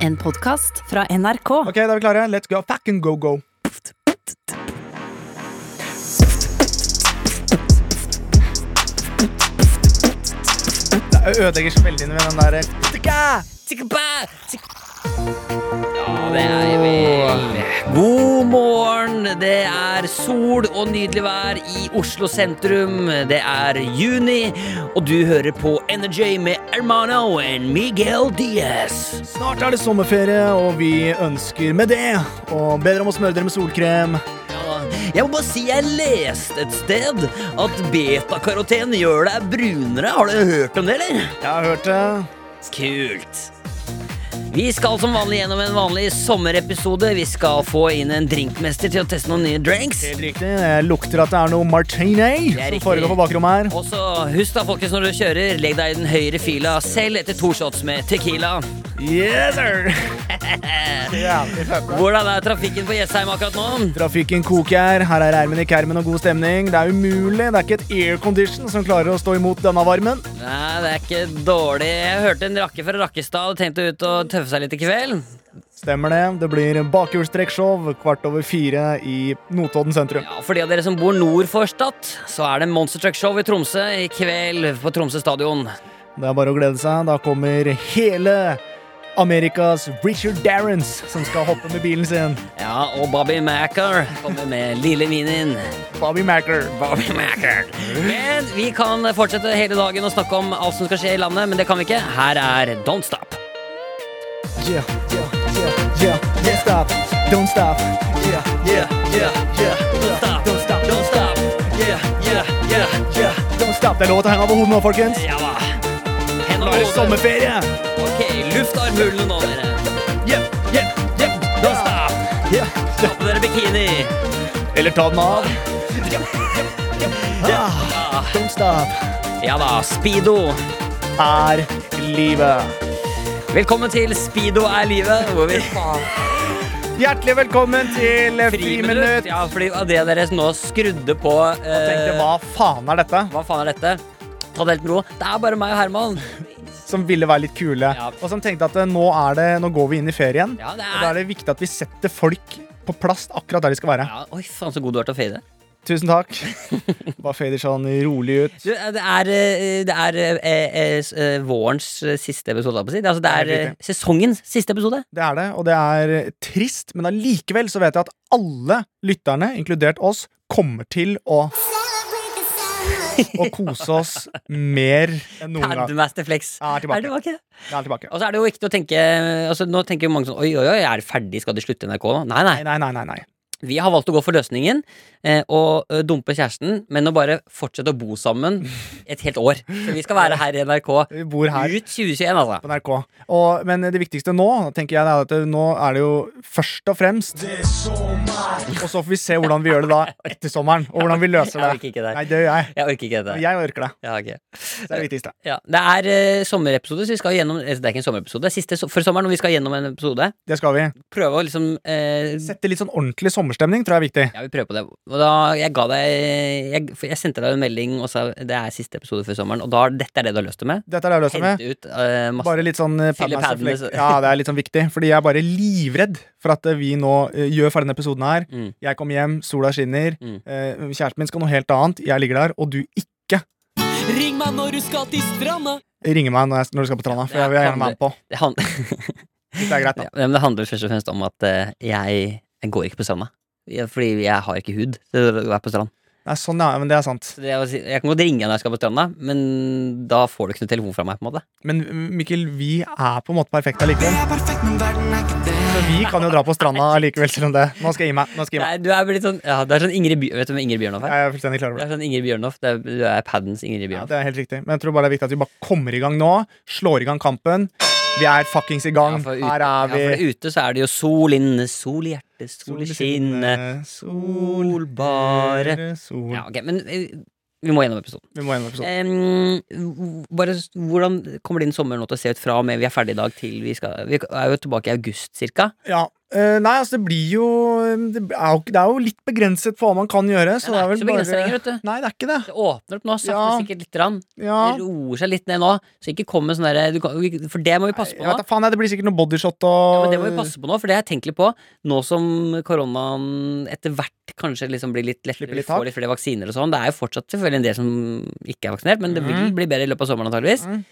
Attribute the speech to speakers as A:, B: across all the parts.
A: En podkast fra NRK.
B: Ok, da er vi klare. Let's go. Fucking go, go. Det ødelegger smellene med den der
C: Det er vel God morgen! Det er sol og nydelig vær i Oslo sentrum. Det er juni, og du hører på Energy med Hermano og Miguel Diaz.
B: Snart er det sommerferie, og vi ønsker med det å bedre om å smøre dere med solkrem.
C: Jeg må bare si jeg leste et sted at betakaroten gjør deg brunere. Har du hørt om det, eller?
B: Jeg har hørt det.
C: Kult. Vi skal som vanlig gjennom en vanlig sommerepisode. Vi skal få inn en drinkmester til å teste noen nye drinks.
B: Helt riktig. Jeg lukter at det er noe martini
C: er
B: som
C: riktig.
B: foregår på bakrommet her.
C: Og så husk da, folkens, når du kjører, legg deg i den høyre fila selv etter to shots med tequila.
B: Yes, sir! Jævlig fett.
C: Hvordan er trafikken på Jessheim akkurat nå?
B: Trafikken koker, her er ermen i kermen og god stemning. Det er umulig, det er ikke et aircondition som klarer å stå imot denne varmen.
C: Nei, det er ikke dårlig. Jeg hørte en rakke fra Rakkestad og tenkte ut å tøffe seg litt i kveld.
B: Stemmer det. Det blir bakhjulstrekkshow kvart over fire i Notodden sentrum.
C: Ja, For de av dere som bor nord for Stad, så er det Monster Truck Show i Tromsø i kveld på Tromsø stadion.
B: Det er bare å glede seg. Da kommer hele Amerikas Richard Darrens som skal hoppe med bilen sin.
C: Ja, og Bobby Macker kommer med lille minien.
B: Bobby Macker.
C: Bobby Macker. Men vi kan fortsette hele dagen å snakke om alt som skal skje i landet, men det kan vi ikke. Her er Don't Stop.
B: Yeah, yeah, yeah, yeah. Don't stop. Don't stop. Yeah, yeah, yeah, yeah.
C: Don't stop, don't stop, don't stop. Yeah, yeah, yeah, yeah.
B: Don't stop. Det er lov til å henge over hodet nå, folkens.
C: Ja da. Hendene
B: Nå er det
C: over hodet.
B: sommerferie.
C: Ok, luft armhulene nå, dere.
B: Yeah, yeah, yeah.
C: Don't stop.
B: Yeah,
C: Ta på dere bikini.
B: Eller ta den av. Ah, don't stop
C: Ja da, speedo.
B: er livet.
C: Velkommen til Speedo er livet, hvor vi
B: Hjertelig velkommen til eh,
C: Friminutt.
B: Friminutt.
C: Ja, fordi av det dere nå skrudde på
B: Jeg tenkte,
C: eh,
B: hva faen er dette?
C: Hva faen er dette? Ta det helt med ro. Det er bare meg og Herman.
B: Som ville være litt kule.
C: Ja.
B: Og som tenkte at eh, nå, er det, nå går vi inn i ferien.
C: Ja, det
B: Og da
C: er
B: er det viktig at vi setter folk på plass akkurat der de skal være.
C: ja, Oi, faen, så god du er til å fade.
B: Tusen takk. Bare fader sånn rolig ut.
C: Du, eh, det er, eh, det er eh, eh, s- eh, vårens eh, siste episode, holdt jeg på å si. Det er Altså, det
B: Det er
C: er eh, sesongens siste episode.
B: Det er det, og det er trist, men allikevel så vet jeg at alle lytterne, inkludert oss, kommer til å å kose oss mer enn noen gang.
C: Padmaster Flex.
B: Mm, Jeg er
C: Er
B: tilbake.
C: det ok?
B: Jeg er tilbake.
C: Og så er det jo viktig å tenke altså, Nå tenker jo mange sånn Oi, oi, oi, er det ferdig? Skal de slutte i NRK nå? Nei, nei.
B: Nei, nei, nei. nei, nei.
C: Vi har valgt å gå for løsningen eh, og eh, dumpe kjæresten, men å bare fortsette å bo sammen et helt år. Så vi skal være her i NRK
B: Vi bor her.
C: ut 2021, altså.
B: på NRK. Og, men det viktigste nå tenker jeg, det er at det, nå er det jo først og fremst Og så får vi se hvordan vi gjør det da etter sommeren, og hvordan vi løser
C: Jeg
B: det.
C: orker ikke det.
B: Nei, det gjør jeg.
C: Jeg orker ikke dette.
B: Jeg orker det.
C: Ja, ok.
B: Så Det er det viktigste.
C: Ja, det er eh, sommerepisode, så vi skal gjennom eh, Det er ikke en sommerepisode, det er siste so for sommeren, og vi skal gjennom en episode.
B: Det skal vi.
C: Prøve å liksom eh,
B: Sette litt sånn ordentlig sommerstemning tror jeg er viktig.
C: Ja, vi prøver på det. Og da, jeg ga deg jeg, for jeg sendte deg en melding og sa det er siste episode før sommeren, og da, dette er det du har løst det med.
B: Dette er det jeg løser med.
C: Hente ut eh, masse
B: Bare litt sånn eh,
C: Fylle
B: padmaster
C: padene,
B: flex.
C: så-
B: Ja, det er litt sånn viktig, fordi jeg er bare livredd for at eh, vi nå eh, gjør ferdig denne episoden her.
C: Mm.
B: Jeg kommer hjem, sola skinner,
C: Mm.
B: eh, kjæresten min skal noe helt annet, jeg ligger der, og du ikke
C: Ring meg når du skal til stranda!
B: ringer meg når, jeg, når du skal på Trana, for jeg vil gjerne være med på.
C: Det, han
B: Hvis det er greit, da.
C: ja, men det handler først og fremst om at eh, jeg, jeg går ikke på stranda. Ja, Fordi jeg har ikke hud til å være på strand.
B: Nei, sånn ja, men det er sant.
C: Så det, å si- jeg kan godt ringe når jeg skal på stranda, men da får du ikke noe telefon fra meg. på en måte
B: Men Mikkel, vi er på en måte perfekte allikevel. Så vi kan jo dra på stranda allikevel, selv om det. Nå skal jeg gi meg. Nå skal jeg gi meg.
C: Nei, du er blitt sånn, ja, det er sånn Ingrid Bjør, Vet du hvem Ingrid Bjørnhoff er?
B: Jeg er fullstendig klar
C: Det
B: over det.
C: er sånn Ingrid Bjørnhoff, det er, Du er paddens Ingrid
B: Ja,
C: Bjørnhoff.
B: det er helt riktig. Men jeg tror bare det er viktig at vi bare kommer i gang nå. Slår i gang kampen. Vi er fuckings i gang.
C: Ja, for ute,
B: Her er vi.
C: ja, for ute så er det jo sol inne, sol i hjertet, sol i skinnet, sol bare
B: Sol
C: Ja, ok, men eh, vi må gjennom episoden.
B: Vi må gjennom episoden.
C: Em, h- bare, s- hvordan kommer din sommer nå til å se ut fra og med vi er ferdig i dag til vi skal Vi er jo tilbake i august cirka.
B: Ja, Eh, nei, altså, det blir jo Det er jo, ikke- det er jo litt begrenset på hva man kan gjøre. Så det
C: det er
B: er
C: ikke
B: vel
C: så begrenset lenger,
B: bare
C: vet du.
B: Nei, det er ikke det.
C: Det åpner opp nå, sakte,
B: Ja.
C: men sikkert lite grann.
B: Ja.
C: Det roer seg litt ned nå, så ikke kom med sånn derre du kan- For det må vi passe på
B: Jeg
C: nå.
B: vet da faen, jeg, det blir sikkert noe bodyshot
C: Ja,
B: og
C: men det må vi passe på nå, for det har jeg tenkt litt på. Nå som koronaen etter hvert kanskje liksom blir litt lettere,
B: Slipper litt
C: vi får
B: tak.
C: litt flere vaksiner og sånn. Det er jo fortsatt selvfølgelig en del som ikke er vaksinert, men det vil
B: Mhm.
C: bli bedre i løpet av sommeren antageligvis.
B: Mhm.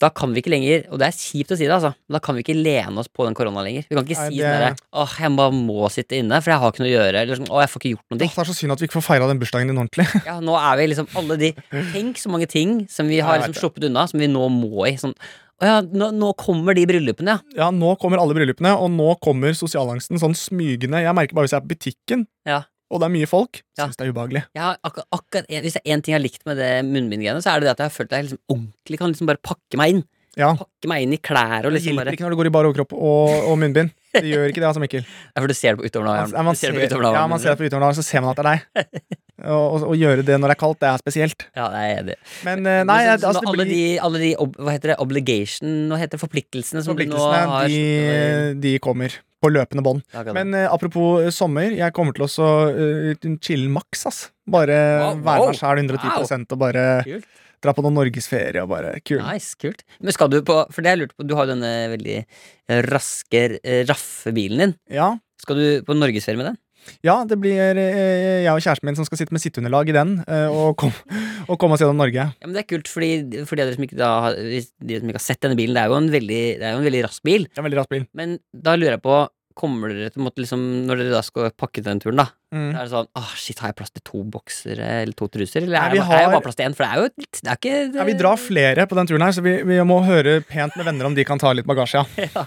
C: Da kan vi ikke lenger, og det er kjipt å si det, altså, men da kan vi ikke lene oss på den korona lenger. Vi kan ikke
B: Nei,
C: si
B: det-
C: sånn derre åh, jeg bare må sitte inne, for jeg har ikke noe å gjøre, eller sånn åh, jeg får ikke gjort noen ting.
B: Åh, Det er så synd at vi ikke får feira den bursdagen din ordentlig.
C: Ja, nå er vi liksom alle de Tenk så mange ting som vi
B: Ja,
C: har
B: jeg
C: liksom
B: vet
C: sluppet unna, som vi nå må i. Sånn, å ja, nå, nå kommer de bryllupene, ja.
B: Ja, Nå kommer alle bryllupene, og nå kommer sosialangsten sånn smygende. Jeg merker bare hvis jeg er på butikken,
C: Ja.
B: og det er mye folk,
C: Ja.
B: syns det er ubehagelig.
C: Jeg har akkur akkurat en, hvis det er én ting jeg har likt med det munnbindgreiene, så er det det at jeg har følt at jeg liksom ordentlig kan liksom bare pakke meg inn.
B: Ja.
C: Pakke meg inn i klær og
B: Det
C: liksom
B: hjelper
C: bare
B: ikke når du går i bar overkropp og, og munnbind. Det gjør ikke det, altså, Mikkel.
C: Ja, for du ser det på utoverlageren.
B: Ja, Altså, man
C: Du ser
B: ser,
C: det på utoverlageren.
B: ja, man ser det på utoverlageren, så ser man at det er deg. Og, og, og gjøre det når det er kaldt, det er spesielt.
C: Ja, det er jeg enig i.
B: Men eh, nei,
C: Men så- så
B: altså, det
C: alle,
B: blir
C: de, alle de ob Hva heter det? Obligation? Hva heter det? Forpliktelsene som du nå
B: forpliktelsene,
C: har
B: de, de kommer på løpende bånd.
C: Ja, akkurat.
B: Men eh, apropos eh, sommer, jeg kommer til å så, eh, chille maks, ass. Bare
C: Wow,
B: være
C: wow.
B: meg sjæl 110 og bare
C: Kult.
B: dra på noen norgesferie og bare kul.
C: Nice, kult. Men skal du på For det jeg lurte på, du har jo denne veldig eh, raske eh, raffebilen din.
B: Ja,
C: Skal du på norgesferie med den?
B: ja, det blir eh, jeg og kjæresten min som skal sitte med sitteunderlag i den eh, og komme og komme oss gjennom Norge.
C: Ja, men Det er kult, fordi for de av dere som ikke, da, har- hvis de som ikke har sett denne bilen, det er jo en veldig, det er jo en veldig rask bil.
B: Det er en veldig rask bil.
C: Men da lurer jeg på Kommer dere til å måtte liksom Når dere da skal pakke den turen, da.
B: Mm.
C: Er det sånn åh, shit, har jeg plass til to bokser eh, eller to truser? Eller
B: Nei,
C: er,
B: vi
C: det er
B: har-
C: det bare plass til én? For det er jo litt Det er ikke
B: Ja, vi drar flere på den turen her, så vi, vi må høre pent med venner om de kan ta litt bagasje. Ja.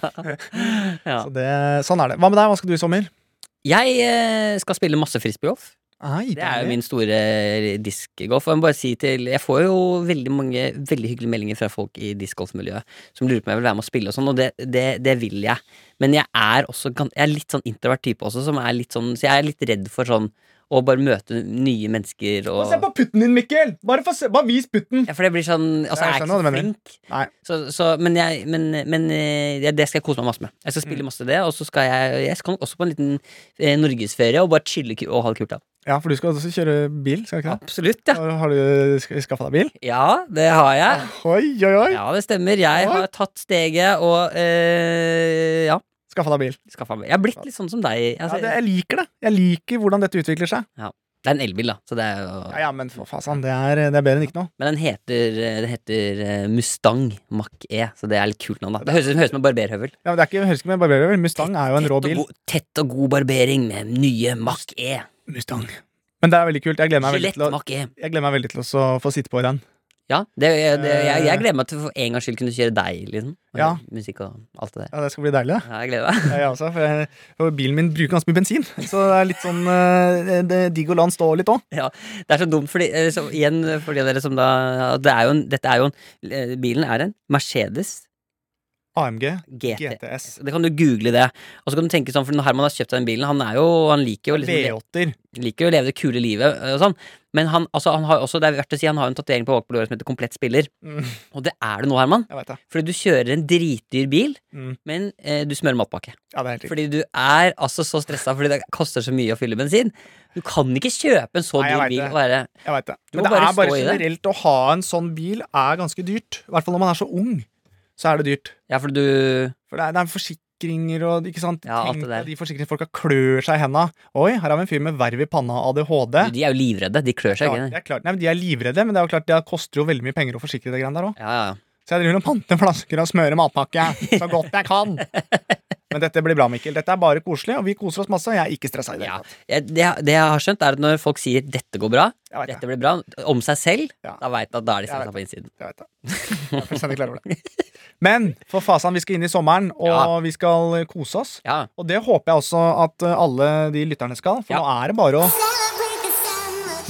C: Ja.
B: Så det, sånn er det. Hva med deg? Hva skal du i sommer?
C: Jeg eh, skal spille masse frisbeegolf.
B: Nei,
C: Det er jo min store diskgolf. Og Jeg må bare si til Jeg får jo veldig mange veldig hyggelige meldinger fra folk i diskgolfmiljøet som lurer på om jeg vil være med og spille og sånn, og det, det, det vil jeg. Men jeg er også gan- Jeg er litt sånn introvert type også, som er litt sånn Så jeg er litt redd for sånn å bare møte nye mennesker
B: Få
C: og
B: se på putten din, Mikkel! Bare, få se, bare vis putten!
C: ja, for det blir sånn Altså,
B: Jeg skjønner
C: jeg er ikke så
B: hva du mener.
C: flink.
B: Nei.
C: Så, så, men jeg, men, men eh, det skal jeg kose meg masse med. Jeg skal
B: Mm.
C: spille masse det, og så skal jeg Jeg skal nok også på en liten eh, norgesferie og bare chille ku- og ha det kult. da.
B: Ja, for du skal også kjøre bil, skal du ikke det?
C: Absolutt, ja.
B: Har- Har du sk- skaffa deg bil?
C: Ja, det har jeg.
B: Oi, oi, oi!
C: Ja, det stemmer. Jeg
B: Oi.
C: har tatt steget og eh, ja,
B: Skaffa deg bil.
C: skaffa meg Jeg har blitt litt sånn som deg.
B: Ja,
C: Altså,
B: det,
C: det,
B: jeg liker det. Jeg liker hvordan dette utvikler seg.
C: er... en elbil, da. Så det er jo...
B: Ja, ja, men for fasan, det er, det er bedre enn ikke noe.
C: Men den heter, den heter eh, Mustang Mach E, så det er litt kult navn. da Det høres ut som, høres ut som en barberhøvel.
B: Ja, men det er ikke, høres ikke med barberøver. Mustang er jo en rå
C: Tett
B: bil.
C: og, god, tett og god barbering med nye Mach E.
B: Mustang. Men det er veldig kult. Jeg gleder meg veldig
C: Skjelett
B: til å,
C: Mach E.
B: jeg gleder meg veldig til å så få sitte på i den.
C: Ja, det, det, jeg,
B: Eh.
C: jeg gleder meg til for en gangs skyld kunne kjøre deg, liksom. Og
B: Ja.
C: Musikk og alt det der.
B: Ja, Det skal bli deilig, det.
C: Ja, jeg gleder meg.
B: Ja, Jeg også, for jeg, for bilen min bruker ganske mye bensin. Så det er litt sånn eh, det er digg å la den stå litt òg.
C: Ja, det er så dumt, fordi, eh, så, igjen for de av dere som da det er jo en, Dette er jo en eh, Bilen er en Mercedes
B: AMG
C: GT.
B: GTS.
C: Det kan du google det. Og så kan du tenke sånn, for når Herman har kjøpt seg den bilen, han er jo Han liker jo liksom,
B: V8-er.
C: liker jo å leve det kule livet eh, og sånn, men han, altså, han har også, det er verdt å si, han har jo en tatovering på bakpå låret som heter Komplett spiller.
B: Mm,
C: Og det er det nå, Herman.
B: jeg vet det.
C: Fordi du kjører en dritdyr bil,
B: Mm.
C: men eh, du smører matpakke.
B: Ja, det er helt riktig.
C: Fordi du er altså så stressa fordi det koster så mye å fylle bensin. Du kan ikke kjøpe en så
B: Nei, jeg vet
C: dyr bil
B: det.
C: og være
B: Jeg vet det.
C: Du
B: Men
C: må
B: det
C: bare
B: er bare
C: stå i det.
B: generelt å ha en sånn bil er ganske dyrt. I hvert fall når man er så ung. Så er det dyrt.
C: Ja, for du
B: For det er, det er forsikringer og ikke sant?
C: Ja, alt
B: Tenk
C: det der.
B: at de forsikringsfolka klør seg i henda. Oi, her har vi en fyr med verv i panna og ADHD.
C: Du, De er jo livredde. De klør seg.
B: Klart,
C: ikke
B: det er klart. Nei, men de er livredde, men det er jo klart det koster jo veldig mye penger å forsikre det greiene der òg.
C: det? Ja, ja, ja.
B: Så jeg driver og panter flasker og smører matpakke så godt jeg kan. Men dette blir bra, Mikkel. Dette er bare koselig, og vi koser oss masse. Og jeg er ikke stressa i det.
C: ja.
B: hele tatt.
C: Jeg, det, jeg- det jeg har skjønt, er at når folk sier 'dette går bra',
B: Jeg vet
C: 'dette
B: det.
C: blir bra', om seg selv,
B: Ja.
C: da veit du at da er de
B: Jeg
C: stressa
B: vet
C: på innsiden.
B: Jeg vet det. Jeg er fullstendig klar over det. Men for fasan, vi skal inn i sommeren, og
C: Ja.
B: vi skal kose oss.
C: Ja.
B: Og det håper jeg også at eh, alle de lytterne skal, for
C: Ja.
B: nå er det bare å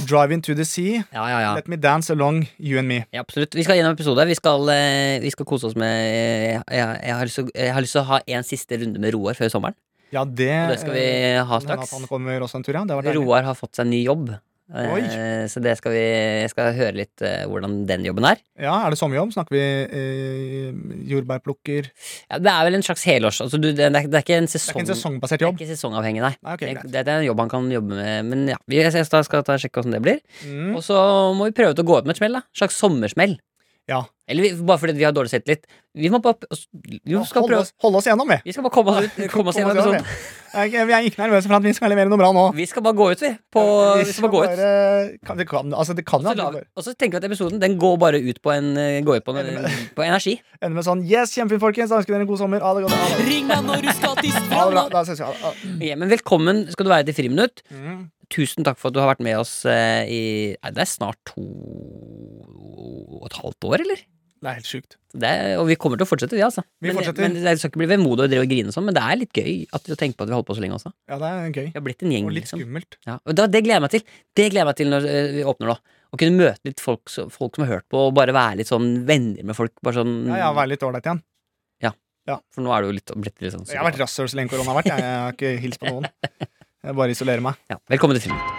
B: drive into the sea.
C: Ja, ja, ja.
B: Let me dance along, you and me.
C: ja absolutt. Vi skal gjennom episode. Vi skal, eh, vi skal kose oss med eh, jeg, jeg, har lyst til, å- jeg har lyst til å ha en siste runde med Roar før sommeren.
B: Ja, det,
C: Og det skal vi
B: eh,
C: ha
B: kan hende at
C: straks.
B: han kommer også en tur, ja. Det var deilig.
C: Roar har fått seg ny jobb, Eh,
B: Oi.
C: Så det skal vi jeg skal høre litt eh, hvordan den jobben er.
B: Ja, Er det sommerjobb? Snakker vi eh, jordbærplukker Det
C: Ja, det er vel en slags helårs... Altså, du, det, er, det er ikke
B: er
C: en
B: ikke
C: sesong...
B: en sesongbasert
C: det er
B: jobb?
C: ikke sesongavhengig, nei.
B: Nei, ok, greit.
C: det, det er en jobb han kan jobbe med. Men ja, vi jeg skal, skal ta og sjekke hvordan det blir.
B: Mm.
C: Og så må vi prøve ut å gå ut med et smell. da En slags sommersmell.
B: Ja.
C: Eller vi, bare fordi vi har dårlig selvtillit. Vi må bare vi skal
B: Holde
C: prøve
B: oss, holde oss gjennom, vi.
C: Vi skal bare komme oss ut. Komme oss gjennom
B: Kom oss
C: episoden.
B: gjennom, vi. Jeg jeg er ikke nervøs for at vi skal levere noe bra nå.
C: Vi skal bare gå ut, vi. På, vi skal bare gå ut.
B: bare- kan, det kan, altså, det kan
C: Så
B: jo
C: la,
B: at vi bare
C: og så tenker vi at episoden den går bare ut på en, eh, går ut på en, på energi.
B: ender med sånn Yes, kjempefint, folkens. Da ønsker dere en god sommer. Ha det godt. Ha det,
A: Ring meg når du skal til
B: ha det bra. Da ses vi. Ha det. Ha det.
C: Ja, men velkommen skal du være til Friminutt.
B: Mm.
C: Tusen takk for at du har vært med oss eh, i nei, Det er snart to og et halvt år, eller?
B: Det er helt sjukt.
C: Det er, og vi kommer til å fortsette, vi, altså.
B: Vi
C: men,
B: fortsetter.
C: men det skal ikke bli vemodig å drive og grine og sånn, men det er litt gøy at, å tenke på at vi holder på så lenge også.
B: Ja, det er gøy.
C: Vi har blitt en gjeng,
B: Og litt
C: liksom.
B: skummelt.
C: Ja, og da, det gleder jeg meg til. Det gleder jeg meg til når eh, vi åpner nå. Å kunne møte litt folk, så- folk som har hørt på, og bare være litt sånn venner med folk. Bare sånn,
B: Ja, jeg har vært litt ålreit igjen.
C: For nå er det jo litt, blitt litt sånn
B: Jeg har vært rasshøl så lenge korona har vært. Jeg, jeg har ikke hilst på noen. Jeg bare isolerer meg.
C: ja, Velkommen til Friminutt.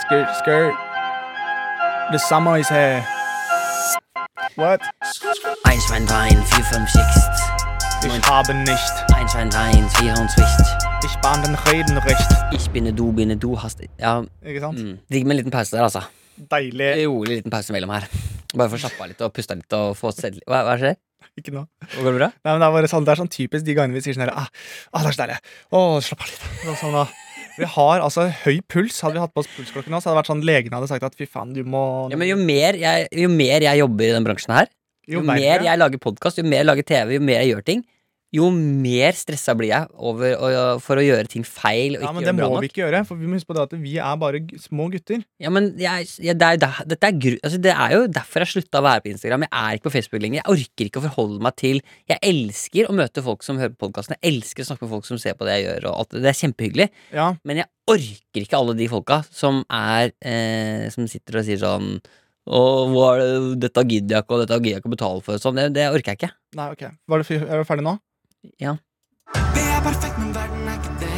B: Skirt, skirt. The summer is here. What?
C: Einschweinwein, 456.
B: Ich habe nicht.
C: Einschweinwein, 460.
B: Ich bahn den reden recht.
C: Ich binne du, binne du, hast Ja,
B: Ikke sant?
C: mm. digg med en liten pause der, altså.
B: Deilig.
C: Rolig liten pause mellom her. Bare få slappa av litt og pusta litt og få sett litt Hva, hva skjer?
B: Ikke noe.
C: Går det bra?
B: Nei, men det, er bare sånn, det er sånn typisk de gangene vi sier sånn her ah, ah, det er så deilig. Å, slapp av litt. Og Sånn, da. Vi har altså høy puls. Hadde vi hatt på oss pulsklokke nå, så hadde det vært sånn legen hadde sagt at fy faen, du må
C: Ja, men jo mer, jeg, jo mer jeg jobber i den bransjen her, jo,
B: Jo
C: mer
B: verre.
C: jeg lager podkast, jo mer jeg lager TV, jo mer jeg gjør ting, jo mer stressa blir jeg over å, for å gjøre ting feil og
B: Ja,
C: ikke
B: men
C: gjøre
B: det
C: bra
B: må
C: nok.
B: vi ikke gjøre, for vi må huske på det at vi er bare g- små gutter.
C: Ja, men jeg, jeg, det, er, jo der- dette er gru, altså, det er jo derfor jeg slutta å være på Instagram. Jeg er ikke på Facebook lenger. Jeg orker ikke å forholde meg til Jeg elsker å møte folk som hører på podkasten. Jeg elsker å snakke med folk som ser på det jeg gjør. Og alt. det. Det er kjempehyggelig.
B: Ja,
C: Men jeg orker ikke alle de folka som er eh, Som sitter og sier sånn og hva er det, dette gidder jeg ikke, og dette gidder jeg ikke å betale for. Sånn, det, det orker jeg ikke.
B: nei, ok. Var det, f- er du ferdig nå?
C: Ja.
B: Det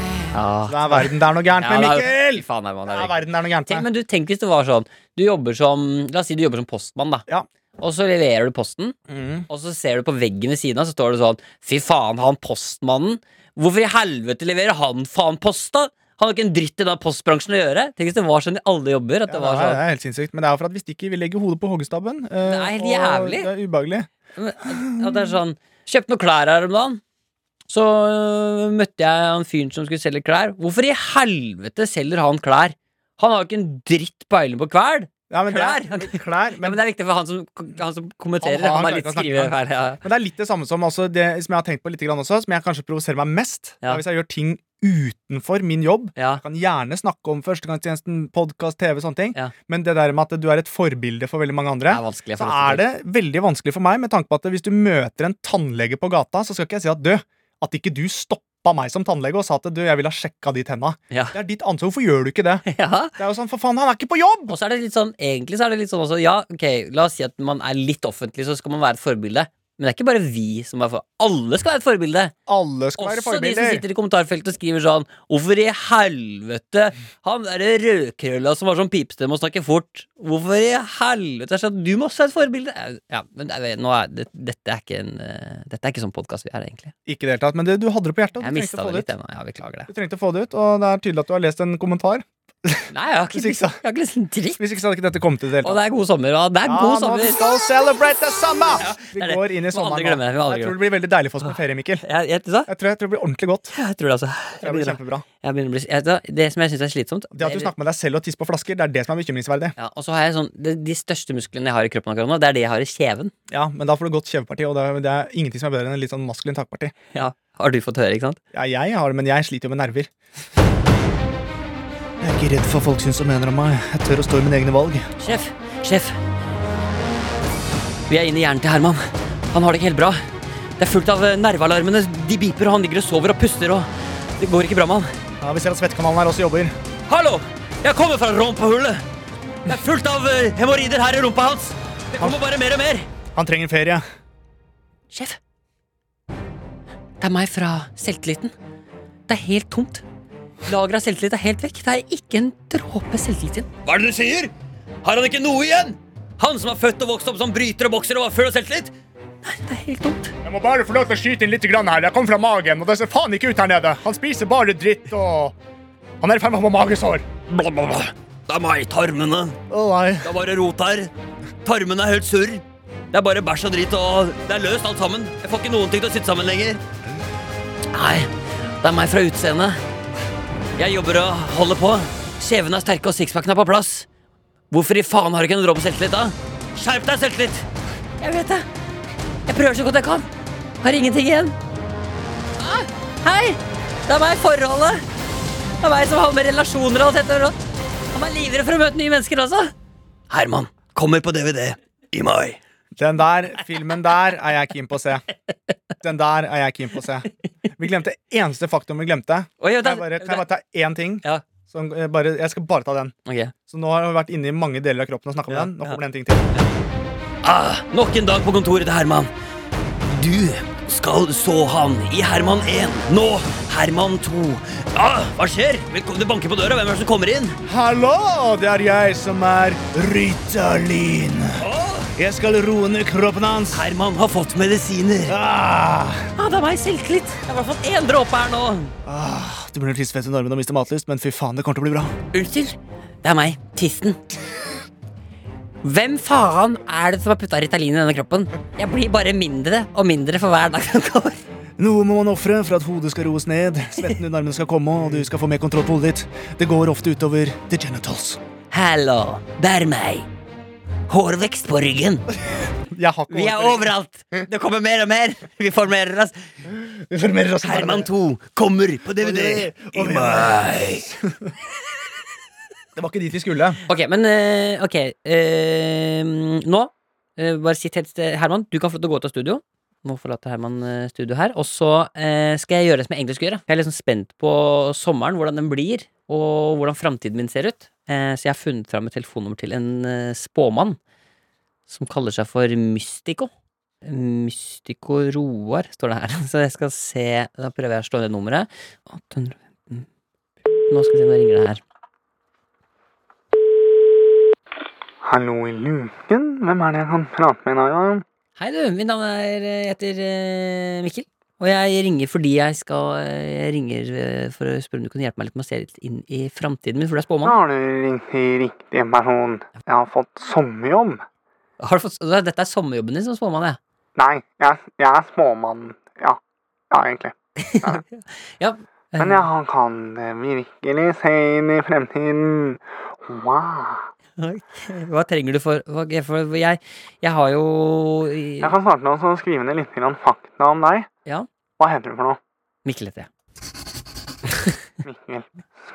B: er verden det er noe gærent
C: Ja,
B: med,
C: det er-
B: Mikkel!
C: Fy faen, det er man, det
B: Det
C: er
B: er
C: ikke.
B: verden det er noe gærent
C: Tenk,
B: med.
C: men du, tenk hvis det var sånn Du jobber som La oss si du jobber som postmann, da.
B: Ja.
C: Og så leverer du posten,
B: Mm.
C: og så ser du på veggen ved siden av, så står det sånn Fy faen, han postmannen. Hvorfor i helvete leverer han faen post, da? Han har ikke en dritt i den postbransjen å gjøre. Tenk hvis det var sånn i alle jobber. At
B: Ja,
C: det var sånn
B: det er helt sinnssykt, men det er jo for at vi stikker, vi legger hodet på hoggestabben. Det
C: er helt jævlig.
B: Det er ubehagelig.
C: Men At at det er sånn Kjøpte noen klær her om dagen. Så øh, møtte jeg han fyren som skulle selge klær. Hvorfor i helvete selger han klær? Han har jo ikke en dritt peiling på kveld!
B: Ja, men det er-
C: Klær.
B: Klær.
C: Men, ja, men
B: Men
C: det er viktig for han som, han som kommenterer.
B: Han har
C: Han, har
B: klart
C: litt
B: å snakke.
C: skrivefeil. Ja.
B: Men det er litt det samme som, altså, det, som jeg har tenkt på litt grann også, som jeg kanskje provoserer meg mest.
C: Ja.
B: er Hvis jeg gjør ting utenfor min jobb.
C: Ja.
B: Jeg kan gjerne snakke om førstegangstjenesten, podkast, TV, sånne ting.
C: Ja.
B: Men det der med at du er et forbilde for veldig mange
C: Det
B: andre,
C: er vanskelig.
B: så er det veldig vanskelig for meg, med tanke på at hvis du møter en tannlege på gata, så skal ikke jeg si at du, at ikke du stoppa meg som tannlege og sa at du, jeg ville ha sjekka de tenna.
C: Ja.
B: Det er ditt ansvar. Hvorfor gjør du ikke det?
C: ja.
B: Det er jo sånn, for faen, han er ikke på jobb!
C: Og så er det litt sånn, egentlig så er det litt sånn også Ja, ok, la oss si at man er litt offentlig, så skal man være et forbilde. Men det er ikke bare vi som er for Alle skal være et forbilde!
B: Alle skal være
C: Også de som
B: forbilder.
C: sitter i kommentarfeltet og skriver sånn Hvorfor i helvete Han derre rødkrølla som har sånn pipestemme og snakker fort Hvorfor i helvete Det er sånn, Du må også ha et forbilde Ja, men det er- nå er, det, dette, er ikke en, eh, dette er ikke sånn podcast vi er egentlig
B: Ikke i det hele tatt, men det, du hadde det på hjertet. og
C: Jeg
B: Du trengte
C: mistet
B: å
C: det
B: få det
C: litt
B: ut.
C: ennå, ja, beklager det
B: Du trengte å få det ut, og det er tydelig at du har lest en kommentar.
C: Nei, jeg har ikke,
B: Hvis ikke så-
C: jeg har ikke lyst til dritt
B: Hvis ikke så hadde ikke dette kommet ut i det hele
C: Og
B: tatt.
C: det er god sommer, og det er god
B: nå
C: sommer
B: skal vi celebrate the summer! Vi
C: det er det.
B: går inn i
C: Må aldri
B: sommeren
C: glemme det, vi må aldri
B: Jeg tror det blir veldig deilig for oss med ferie, Mikkel.
C: jeg, jeg, jeg,
B: Jeg tror, jeg tror det blir ordentlig godt.
C: jeg tror det altså
B: Det blir
C: Jeg begynner, å-
B: kjempebra.
C: jeg begynner å bli jeg, vet du hva, Det som jeg synes er slitsomt
B: Det at du snakker med deg selv og tisser på flasker, det er det som er bekymringsverdig.
C: ja, og så har jeg sånn, de, de største musklene jeg har i kroppen akkurat nå Det er det jeg har i kjeven
B: Ja, men da får du godt kjeveparti, og det er, det er ingenting som er bedre enn en litt sånn maskulin takparti.
C: ja. Har du fått høre, ikke sant?
B: Ja, jeg har det, men jeg sliter jo med nerver. Jeg er ikke redd for hva folk syns og mener om meg. Jeg tør å stå i mine egne valg.
C: Sjef, sjef Vi er inne i hjernen til Herman Han har det ikke helt bra Det er fullt av eh, nervealarmene De biper og han ligger og sover og puster og Det går ikke bra med han
B: Ja, Vi ser at Svettekanalen her også jobber.
C: Hallo, jeg kommer fra rumpehullet Det er fullt av eh, hemorrider her i rumpa hans Det kommer bare mer og mer
B: Han trenger ferie.
C: Sjef Det er meg fra selvtilliten Det er helt tomt Lageret av selvtillit er helt vekk. Det er ikke en dråpe selvtillit igjen.
D: Hva er det du sier? Har han ikke noe igjen?
C: Han som er født og vokst opp som bryter og bokser og var full av selvtillit? Nei, det er helt dumt.
E: Jeg må bare få lov til å skyte inn litt grann her. Jeg kom fra magen, og det ser faen ikke ut her nede. Han spiser bare dritt, og han er i ferd med å få magesår.
C: Bla, bla, bla. Det er meg, tarmene.
E: Å nei.
C: Det er bare rot her. Tarmene er helt surr. Det er bare bæsj og dritt, og det er løst alt sammen. Jeg får ikke noen ting til å sitte sammen lenger. Nei, det er meg fra utseendet. Jeg jobber og holder på. Kjevene er sterke, og sixpacken er på plass. Hvorfor i faen har du ikke en dråpe selvtillit, da? Skjerp deg, selvtillit! Jeg vet det. Jeg prøver så godt jeg kan. Har ingenting igjen. Ah, Hei! Det er meg i forholdet. Det er meg som har med relasjoner og alt dette. å gjøre. Han er livredd for å møte nye mennesker også. Herman kommer på DVD i mai.
E: Den der filmen der er jeg keen på å se. Den der er jeg keen på å se. Vi glemte eneste faktum vi glemte.
C: Oi, vent,
E: Kan jeg bare, kan jeg bare ta én ting?
C: Ja,
E: Som eh, bare, jeg skal bare ta den.
C: ok.
E: Så nå har vi vært inne i mange deler av kroppen og snakket om
C: Ja,
E: den. Nå
C: ja.
E: kommer det en ting til.
C: Ah, nok en dag på kontoret til Herman. Du skal så han i Herman 1. Nå Herman 2. Ah, hva skjer? Velkommen Det banker på døra. Hvem er det som kommer inn?
E: Hallo, det er jeg som er Ritalin.
C: Ah,
E: Jeg skal roe ned kroppen hans.
C: Herman har fått medisiner.
E: Ah.
C: Ah, det er meg selvtillit. Jeg har i hvert fall én dråpe her nå.
E: Ah, du blir tissfett i armene og mister matlyst, men fy faen, det kommer til å bli bra.
C: Unnskyld. Det er meg, tissen. Hvem faen er det som har putta Ritalin i denne kroppen? Jeg blir bare mindre og mindre for hver dag som går.
E: Noe må man ofre for at hodet skal roes ned, svetten under armene skal komme, og du skal få mer kontroll på hodet ditt. Det går ofte utover the genitals.
C: Hallo, bær meg. Hårvekst på ryggen.
E: Jeg har ikke
C: Vi er overalt. Det kommer mer og mer. Vi får mer rass.
E: Vi formerer oss
C: Herman 2 kommer på DVD i
E: Og vi-
C: mai.
E: Det var ikke dit vi skulle.
C: Ok, men eh, ok. eh, nå, eh, bare sitt helt stille. Herman, du kan få lov til å gå ut av studio. Må forlate Herman eh, studio her. Og så eh, skal jeg gjøre det som jeg egentlig skulle gjøre. Jeg er liksom spent på sommeren, hvordan den blir, og hvordan framtiden min ser ut. Eh, så jeg har funnet fram et telefonnummer til en eh, spåmann som kaller seg for Mystico. Mystico Roar, står det her. Så jeg skal se Da prøver jeg å slå ned nummeret. 815 Nå skal vi se om det ringer det her.
E: Hallo i luken. Hvem er det jeg kan prate med i dag?
C: Hei du, mitt navn er, jeg heter eh, Mikkel, og jeg ringer fordi jeg skal eh, Jeg ringer eh, for å spørre om du kunne hjelpe meg litt med å se litt inn i framtiden min, for du er spåmann.
E: har du ringt til riktig person. Jeg har fått sommerjobb.
C: Har du fått, altså, dette er sommerjobben din som spåmann, ja.
E: Nei, jeg, er småmann. Ja. Ja, egentlig.
C: ja. eh,
E: Men jeg kan virkelig se inn i fremtiden. Wow.
C: ok. Hva trenger du for, hva- for jeg, jeg har jo
E: Jeg kan starte med å skrive ned litt grann fakta om deg.
C: Ja.
E: Hva heter du for noe?
C: Mikkel heter jeg.
E: Mikkel.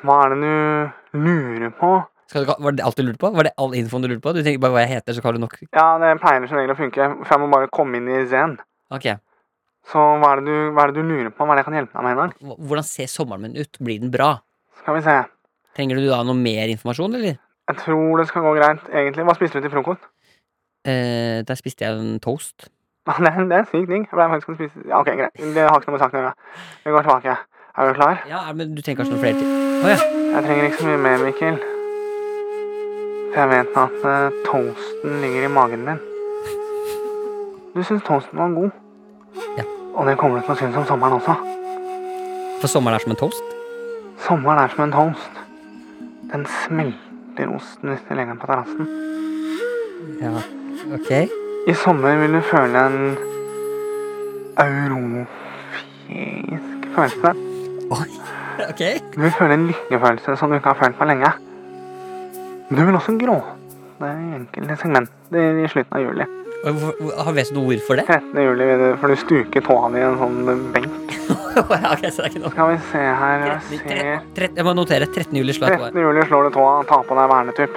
E: Hva er det du lurer på?
C: Skal du, var det alt du lurte på? Var det all infoen du lurte på? Du tenker bare hva jeg heter, så har du nok
E: Ja, det pleier som regel å funke, for jeg må bare komme inn i zen.
C: Ok.
E: Så hva er det du, hva er det du lurer på? Hva er det jeg kan hjelpe deg med i dag?
C: Hv- Hvordan ser sommeren min ut? Blir den bra?
E: Skal vi se.
C: Trenger du da noe mer informasjon, eller?
E: Jeg tror det skal gå greit, egentlig. Hva spiste du til frokost?
C: Eh, der spiste jeg en toast.
E: Det, er- det er sykt digg. Jeg ble faktisk å spise Ja, OK, greit. Det har ikke noe med saken å gjøre. Vi går tilbake. Er du klar?
C: Ja, men du trenger kanskje noe flere til. Å ja.
E: Jeg trenger ikke så mye mer, Mikkel. For jeg vet at eh, toasten ligger i magen din. Du syns toasten var god.
C: Ja.
E: Og det kommer du til å synes om sommeren også.
C: For sommeren er som en toast?
E: Sommeren er som en toast. Den smelter osten hvis du legger den på terrassen.
C: Ja. Ok.
E: I sommer vil du føle en eurofisk følelse.
C: Oi. Ok.
E: Du vil føle en lykkefølelse som du ikke har følt på lenge. Du vil også gråte i enkelte segmenter i slutten av juli.
C: Og hvor- hvor- Har Vet du noe ord for det?
E: 13. juli vil du- får du stuke tåa di i en sånn benk.
C: Ja, ok, så det er ikke noe.
E: Skal vi se her jeg ser.
C: 13, tre- jeg må notere. 13. juli slår jeg på.
E: 13. juli slår du tåa, ta på deg vernetupp.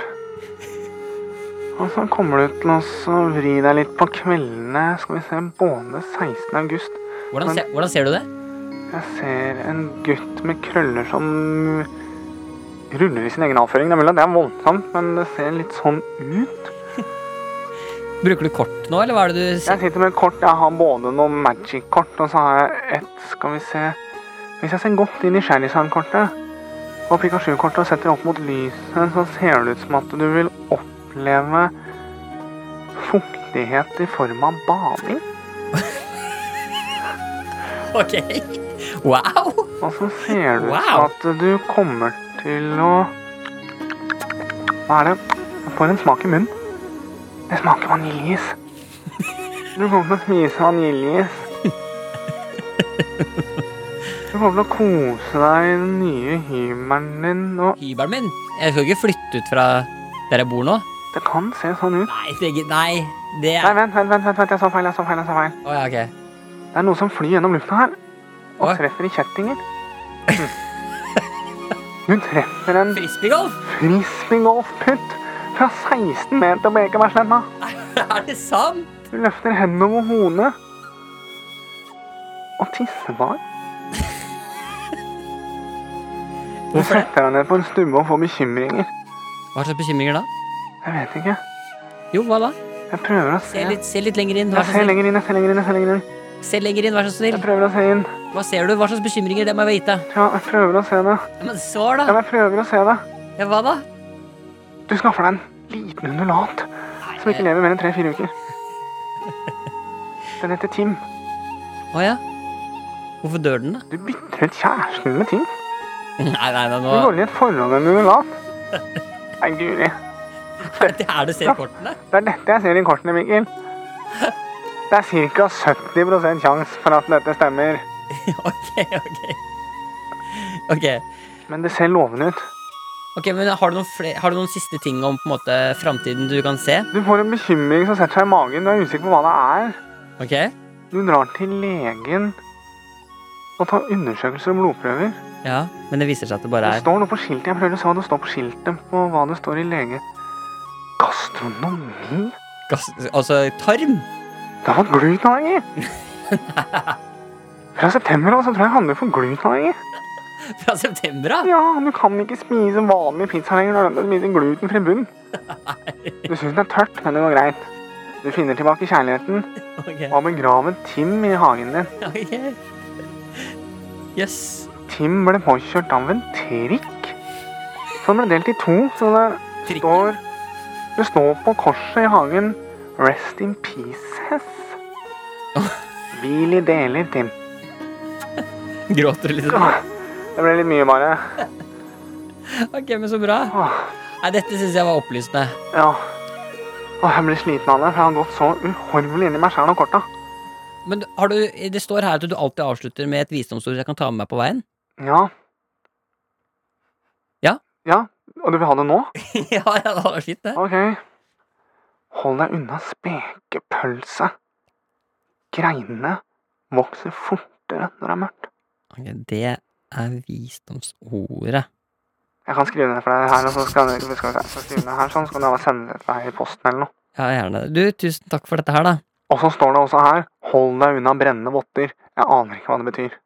E: Og så kommer du til å så vri deg litt på kveldene. Skal vi se, både 16. august
C: Hvordan, ser- hvordan ser du det?
E: Jeg ser en gutt med krøller som ruller i sin egen avføring. Det er mulig at det er voldsomt, men det ser litt sånn ut.
C: Bruker du kort nå, eller hva er det du ser?
E: Jeg sitter med et kort. Jeg har både noe magic-kort, og så har jeg et Skal vi se Hvis jeg ser godt inn i Sherrysan-kortet, og piker sju-kortet og setter opp mot lyset, så ser det ut som at du vil oppleve fuktighet i form av bading.
C: Ok. Wow!
E: Og så ser det ut som
C: Wow.
E: at du kommer til å Hva er det? Du får en smak i munnen. Det smaker vaniljeis. Du kommer til å spise vaniljeis. Du kommer til å kose deg i den nye hymelen din, og
C: Hybelen min. Jeg skal ikke flytte ut fra der jeg bor nå.
E: det kan se sånn ut.
C: Nei, det, nei, det
E: Nei,
C: er
E: vent, vent, vent, vent, vent, jeg så feil, jeg så feil, jeg så feil.
C: Å ja, ok.
E: Det er noe som flyr gjennom lufta her, og
C: Oi.
E: treffer i kjettinger. Du treffer en
C: Frisbeegolf?
E: frisbeegolfputt fra 16 meter på Ekebergsletta.
C: Er det sant?
E: Du løfter hendene over hodet. Og tissebar. Du setter deg ned på en stubbe og får bekymringer.
C: Hva slags bekymringer da?
E: Jeg vet ikke.
C: Jo, hva da?
E: Jeg prøver å
C: Se
E: se.
C: litt, se litt lenger inn. Vær
E: Jeg
C: så
E: ser
C: snill.
E: lenger inn, jeg ser lenger inn, jeg ser lenger inn.
C: Se lenger inn, vær så snill.
E: Jeg prøver å se inn.
C: Hva ser du? Hva slags bekymringer? Det må jeg vite.
E: Ja, jeg prøver å se det.
C: Ja, Men svar,
E: Ja,
C: da.
E: jeg prøver å se det.
C: Ja, hva da?
E: Du skaffer deg en liten undulat som ikke lever mer enn tre-fire uker. Den heter Tim.
C: Å ja. Hvorfor dør den, da?
E: Du bytter ut kjæresten med Tim.
C: Nei, nei, nei,
E: Du
C: nå
E: går inn i et forhold med en undulat. Nei, guri.
C: Er det her du ser kortene?
E: Det er dette jeg ser i kortene, Mikkel. Det er ca. 70 sjanse for at dette stemmer.
C: Ok, ok. Ok,
E: Men det ser lovende ut.
C: ok, men har du, noen fle- har du noen siste ting om på en måte framtiden du kan se?
E: Du får en bekymring som setter seg i magen. Du er usikker på hva det er.
C: Ok?
E: Du drar til legen og tar undersøkelser og blodprøver.
C: Ja, men det viser seg at det bare
E: Det
C: er
E: står noe på skiltet. Jeg prøvde å se hva det står på skiltet på hva det står i lege. Gastronomi?
C: gass... Altså tarm?
E: Det var glutenallergi! Fra september av så tror jeg jeg handler for glutenallergi.
C: Fra september, da?
E: Ja, du kan ikke spise vanlig pizza lenger. Du har nødt til å spise glutenfri bunn. Du syns den er tørt, men det går greit. Du finner tilbake kjærligheten
C: Ok,
E: og har begravet Tim i hagen din.
C: ok. Yes.
E: Tim ble påkjørt av en trikk. Så den ble delt i to, så det
C: Trikken?
E: står Det står på korset i hagen 'Rest in pieces'. Hvil i deler, Tim.
C: Gråter du litt?
E: Åh, Det ble litt mye, bare.
C: Ok, men så bra.
E: Åh,
C: Nei, dette syns jeg var opplysende.
E: Ja. Åh, jeg blir sliten av det, for jeg har gått så uhorvelig inn i meg sjæl og korta.
C: Men du- har du, det står her at du alltid avslutter med et visdomsord jeg kan ta med meg på veien.
E: Ja.
C: Ja?
E: Ja, og du vil ha det nå?
C: ja, ja, det var fint, det.
E: Ok. Hold deg unna spekepølse. Greinene vokser fortere når det er mørkt.
C: Ok, det er visdomsordet.
E: Jeg kan skrive ned for deg her, og så skal du skal vi se, så skriver jeg ned her, sånn, så kan du bare sende det til deg i posten eller noe.
C: Ja, gjerne. Du, tusen takk for dette her, da.
E: Og så står det også her, hold deg unna brennende votter. Jeg aner ikke hva det betyr.